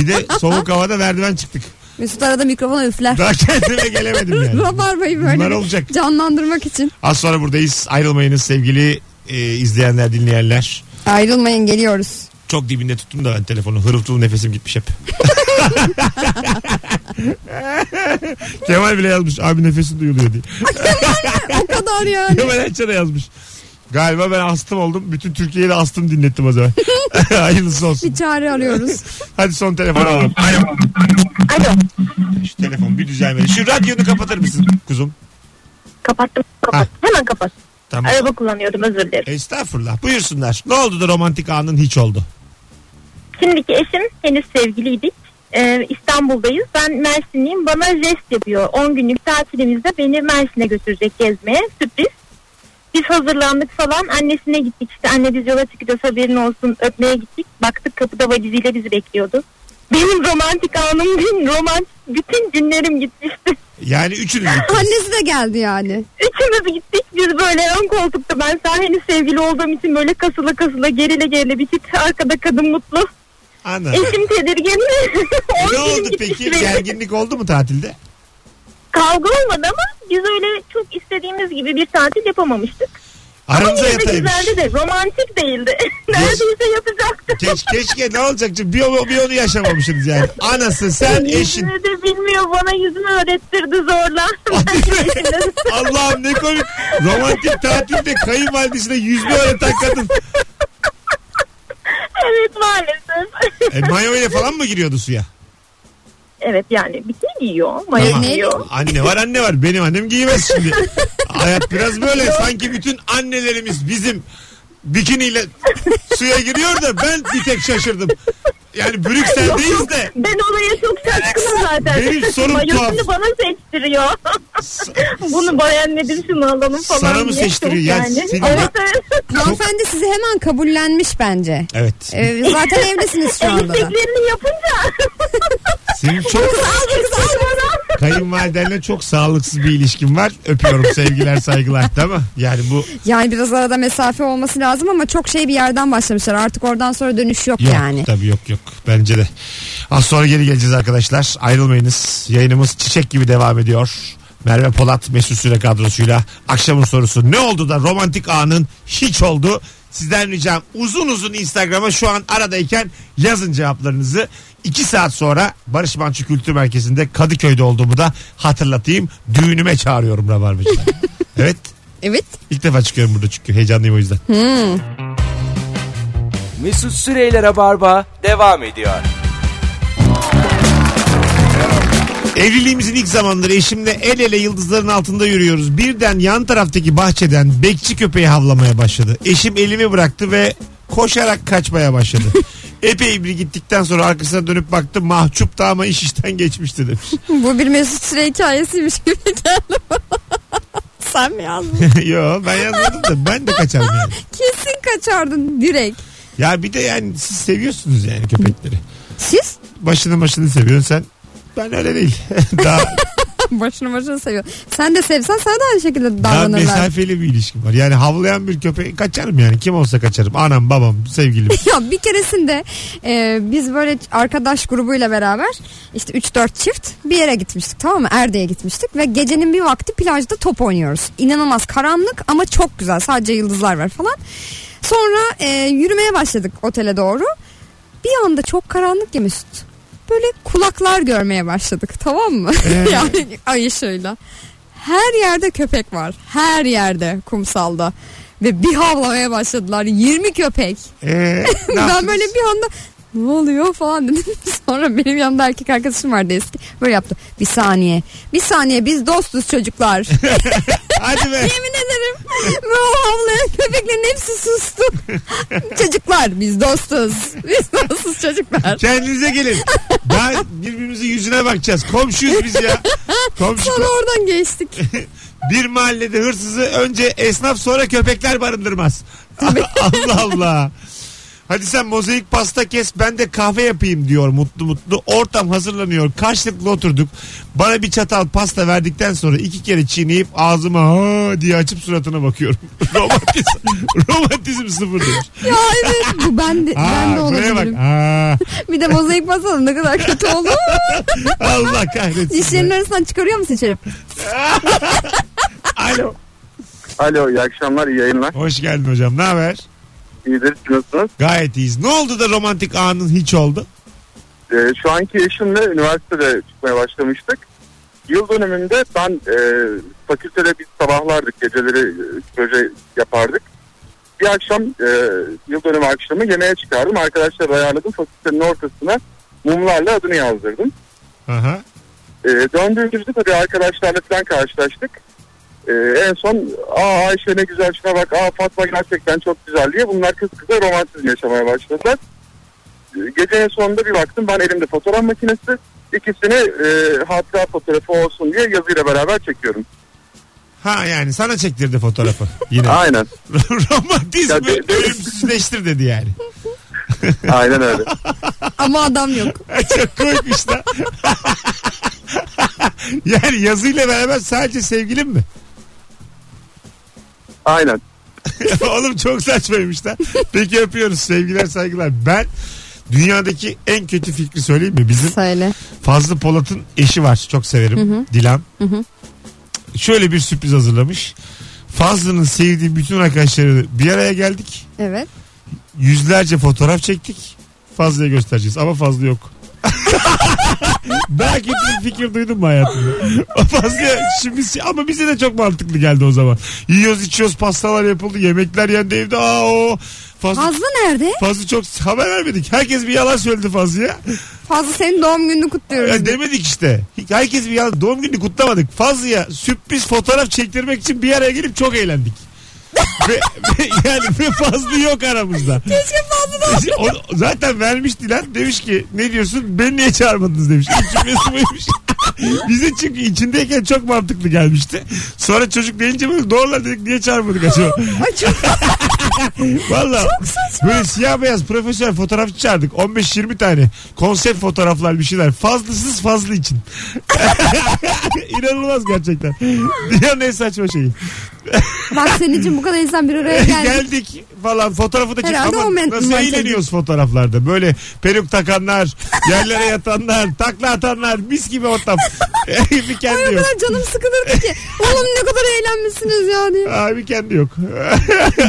Bir de soğuk havada merdiven çıktık. Mesut arada mikrofona üfler. Daha kendime gelemedim yani. Rabarbayı Bunlar böyle bir olacak. canlandırmak için. Az sonra buradayız. Ayrılmayınız sevgili e, izleyenler, dinleyenler. Ayrılmayın geliyoruz. Çok dibinde tuttum da ben telefonu. Hırıltılı nefesim gitmiş hep. Kemal bile yazmış. Abi nefesin duyuluyor diye. O kadar yani. Kemal Erçen de yazmış. Galiba ben astım oldum. Bütün Türkiye'yi de astım dinlettim o zaman. Hayırlısı olsun. Bir çare arıyoruz. Hadi son telefonu alalım. Alo. Şu telefon bir düzelmedi. Şu radyonu kapatır mısın kuzum? Kapattım. Kapat. Hemen kapat. Tamam. Araba kullanıyordum özür dilerim. Estağfurullah. Buyursunlar. Ne oldu da romantik anın hiç oldu? Şimdiki eşim henüz sevgiliydik. Ee, İstanbul'dayız. Ben Mersinliyim. Bana jest yapıyor. 10 günlük tatilimizde beni Mersin'e götürecek gezmeye. Sürpriz. Biz hazırlandık falan. Annesine gittik. İşte anne biz yola çıkacağız haberin olsun. Öpmeye gittik. Baktık kapıda valiziyle bizi bekliyordu. Benim romantik anım, benim romantik bütün günlerim gitmişti. Yani üçünüz gittiniz. Annesi de geldi yani. Üçümüz gittik biz böyle ön koltukta ben daha henüz sevgili olduğum için böyle kasıla kasıla gerile gerile bitik arkada kadın mutlu. Ana. Eşim tedirgin. Ne On gün oldu gittik peki? sürekli. Gerginlik oldu mu tatilde? Kavga olmadı ama biz öyle çok istediğimiz gibi bir tatil yapamamıştık. Ama Aranıza yine de yataymış. güzeldi de romantik değildi. Neredeyse yapacaktım. Keş, keşke ne olacak? Çünkü Bir, onu- bir onu yaşamamışsınız yani. Anası sen eşin. Ah. Yüzünü de bilmiyor bana yüzümü öğrettirdi zorla. Ben eşimle- Allah'ım ne komik. Romantik tatilde kayınvalidesine yüzme öğreten kadın. evet maalesef. E, mayo ile falan mı giriyordu suya? evet yani bir şey giyiyor. Tamam. Mayo giyiyor. Anne var anne var. Benim annem giymez şimdi. Hayat biraz böyle. Sanki bütün annelerimiz bizim bikiniyle suya giriyor da ben bir tek şaşırdım. Yani Brüksel'deyiz de Ben olaya çok şaşkınım zaten. Benim sorum Mayosunu tuhaf. bana seçtiriyor. Bunu beğenmedim şunu alalım falan Sana mı diye. seçtiriyor? Ya senin- Evet, evet. Hanımefendi sizi hemen kabullenmiş bence. Evet. Ee, zaten evlisiniz şu anda da. Elimdekilerini yapınca. Senin çok Aldı kız aldı. Kayınvalidenle çok sağlıksız bir ilişkim var. Öpüyorum sevgiler saygılar değil mi? Yani bu Yani biraz arada mesafe olması lazım ama çok şey bir yerden başlamışlar. Artık oradan sonra dönüş yok, yok yani. tabii yok yok bence de. Az sonra geri geleceğiz arkadaşlar. Ayrılmayınız. Yayınımız çiçek gibi devam ediyor. Merve Polat Mesut Süre kadrosuyla akşamın sorusu ne oldu da romantik anın hiç oldu? Sizden ricam uzun uzun Instagram'a şu an aradayken yazın cevaplarınızı. 2 saat sonra Barış Manço Kültür Merkezi'nde Kadıköy'de olduğumu da hatırlatayım. Düğünüme çağırıyorum Rabarbacı'da. evet Evet. ilk defa çıkıyorum burada çünkü heyecanlıyım o yüzden. Mesut Süreyler'e barba devam ediyor. Evliliğimizin ilk zamanları eşimle el ele yıldızların altında yürüyoruz. Birden yan taraftaki bahçeden bekçi köpeği havlamaya başladı. Eşim elimi bıraktı ve koşarak kaçmaya başladı. Epey bir gittikten sonra arkasına dönüp baktı mahcup da ama iş işten geçmişti demiş. Bu bir Mesut Süre hikayesiymiş gibi geldi bana. Sen mi yazdın? Yo ben yazmadım da ben de kaçarım yani. Kesin kaçardın direkt. Ya bir de yani siz seviyorsunuz yani köpekleri. Siz Başını başını seviyorsun sen. Ben öyle değil. daha, başını başını seviyor. Sen de sevsen sana da aynı şekilde daha davranırlar. mesafeli bir ilişkim var. Yani havlayan bir köpeği kaçarım yani. Kim olsa kaçarım. Anam babam sevgilim. Ya bir keresinde e, biz böyle arkadaş grubuyla beraber işte 3-4 çift bir yere gitmiştik tamam mı? Erde'ye gitmiştik ve gecenin bir vakti plajda top oynuyoruz. İnanılmaz karanlık ama çok güzel sadece yıldızlar var falan. Sonra e, yürümeye başladık otele doğru. Bir anda çok karanlık ya Mesut. Böyle kulaklar görmeye başladık tamam mı? yani ay ışığıyla. Her yerde köpek var. Her yerde kumsalda. Ve bir havlamaya başladılar. 20 köpek. Ee, ne ben yaptınız? böyle bir anda ne oluyor falan dedim. Sonra benim yanımda erkek arkadaşım vardı eski. Böyle yaptı. Bir saniye. Bir saniye biz dostuz çocuklar. Hadi be. Yemin ederim. Ve o havlayan köpeklerin hepsi sustu. çocuklar biz dostuz. Biz dostuz çocuklar. Kendinize gelin. Daha birbirimizin yüzüne bakacağız. Komşuyuz biz ya. Komşu. Sonra oradan geçtik. Bir mahallede hırsızı önce esnaf sonra köpekler barındırmaz. Allah Allah. Hadi sen mozaik pasta kes ben de kahve yapayım diyor mutlu mutlu. Ortam hazırlanıyor. Karşılıklı oturduk. Bana bir çatal pasta verdikten sonra iki kere çiğneyip ağzıma ha diye açıp suratına bakıyorum. romantizm, romantizm sıfır demiş. Ya evet bu ben de, ben de Aa, buraya bak. olabilirim. Aa. Bir de mozaik basalım ne kadar kötü oldu. Allah kahretsin. Dişlerinin arasından çıkarıyor musun içeri? Alo. Alo iyi akşamlar iyi yayınlar. Hoş geldin hocam. Ne haber? İyidir nasılsınız? Gayet iyiyiz. Ne oldu da romantik anın hiç oldu? Ee, şu anki eşimle üniversitede çıkmaya başlamıştık. Yıl dönümünde ben e, fakültede biz sabahlardık geceleri e, proje yapardık. Bir akşam e, yıl dönümü akşamı yemeğe çıkardım. Arkadaşlar ayarladım fakültenin ortasına mumlarla adını yazdırdım. Aha. E, döndüğümüzde tabii arkadaşlarla falan karşılaştık. E, en son aa Ayşe ne güzel şuna bak aa Fatma gerçekten çok güzel diye bunlar kız kıza romantizm yaşamaya başladılar. E, gecenin sonunda bir baktım ben elimde fotoğraf makinesi ikisini e, hatıra fotoğrafı olsun diye yazıyla beraber çekiyorum. Ha yani sana çektirdi fotoğrafı yine. Aynen Romantizmi Ya de- de- ölümsüzleştir dedi yani. aynen öyle. Ama adam yok. Çok koymuş da. yani yazıyla beraber sadece sevgilim mi? Aynen. Oğlum çok saçmaymış da. Peki öpüyoruz sevgiler saygılar. Ben dünyadaki en kötü fikri söyleyeyim mi? Bizim Söyle. Fazlı Polat'ın eşi var. Çok severim. Dilan. Şöyle bir sürpriz hazırlamış. Fazlı'nın sevdiği bütün arkadaşları bir araya geldik. Evet. Yüzlerce fotoğraf çektik. Fazlı'ya göstereceğiz ama Fazlı yok. Daha kötü bir fikir duydum mu hayatımda? O Fazlı'ya şimdi ama bize de çok mantıklı geldi o zaman. Yiyoruz içiyoruz pastalar yapıldı yemekler yendi evde. Aa o Fazlı, Fazlı nerede? Fazlı çok haber vermedik. Herkes bir yalan söyledi Fazlı'ya. Fazlı senin doğum gününü kutluyoruz. Ya demedik işte. Herkes bir ya doğum gününü kutlamadık. Fazlıya sürpriz fotoğraf çektirmek için bir araya gelip çok eğlendik. ve, ve yani ve fazla yok aramızda. Keşke Fazlı da O- zaten vermişti lan. Demiş ki ne diyorsun beni niye çağırmadınız demiş. İlk cümlesi buymuş. Bize çünkü içindeyken çok mantıklı gelmişti. Sonra çocuk deyince böyle doğrular dedik niye çağırmadık acaba. Ay çok Valla. Çok saçma. Böyle siyah beyaz profesyonel fotoğrafçı çağırdık. 15-20 tane. Konsept fotoğraflar bir şeyler. Fazlısız fazla için. İnanılmaz gerçekten. Dünyanın en saçma şey. şeyi. Bak senin için bu kadar insan bir araya geldi. Geldik falan fotoğrafı da çek- Herhalde ama o men- nasıl mankenci. eğleniyoruz fotoğraflarda böyle peruk takanlar yerlere yatanlar takla atanlar mis gibi ortam E, bir Ay kendi o yok kadar canım sıkılırdı ki. Oğlum ne kadar eğlenmişsiniz ya diye. abi kendi yok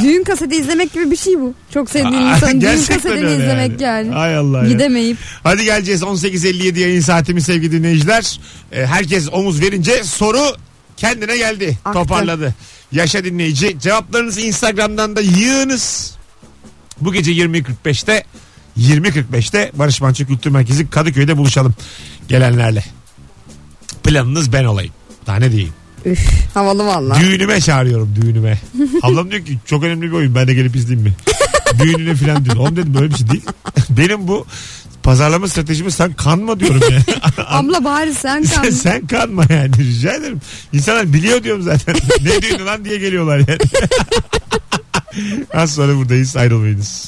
Düğün kaseti izlemek gibi bir şey bu. Çok sevdiğin insanın düğün kasetini öyle izlemek yani. Ay Allah ya. Gidemeyip. Hadi geleceğiz 18.57 yayın saatimiz sevgili dinleyiciler. Ee, herkes omuz verince soru kendine geldi. Aktı. Toparladı. Yaşa dinleyici. Cevaplarınızı Instagram'dan da yığınız. Bu gece 20.45'te 20.45'te Barış Manço Kültür Merkezi Kadıköy'de buluşalım gelenlerle. Planınız ben olayım. Daha ne diyeyim? Üf havalı valla. Düğünüme çağırıyorum düğünüme. Ablam diyor ki çok önemli bir oyun ben de gelip izleyeyim mi? Düğününe filan diyor. Oğlum dedim böyle bir şey değil. Benim bu pazarlama stratejimi sen kanma diyorum yani. Abla bari sen sen, kal. sen kanma yani rica ederim. İnsanlar biliyor diyorum zaten. ne düğünü lan diye geliyorlar yani. Az sonra buradayız ayrılmayınız.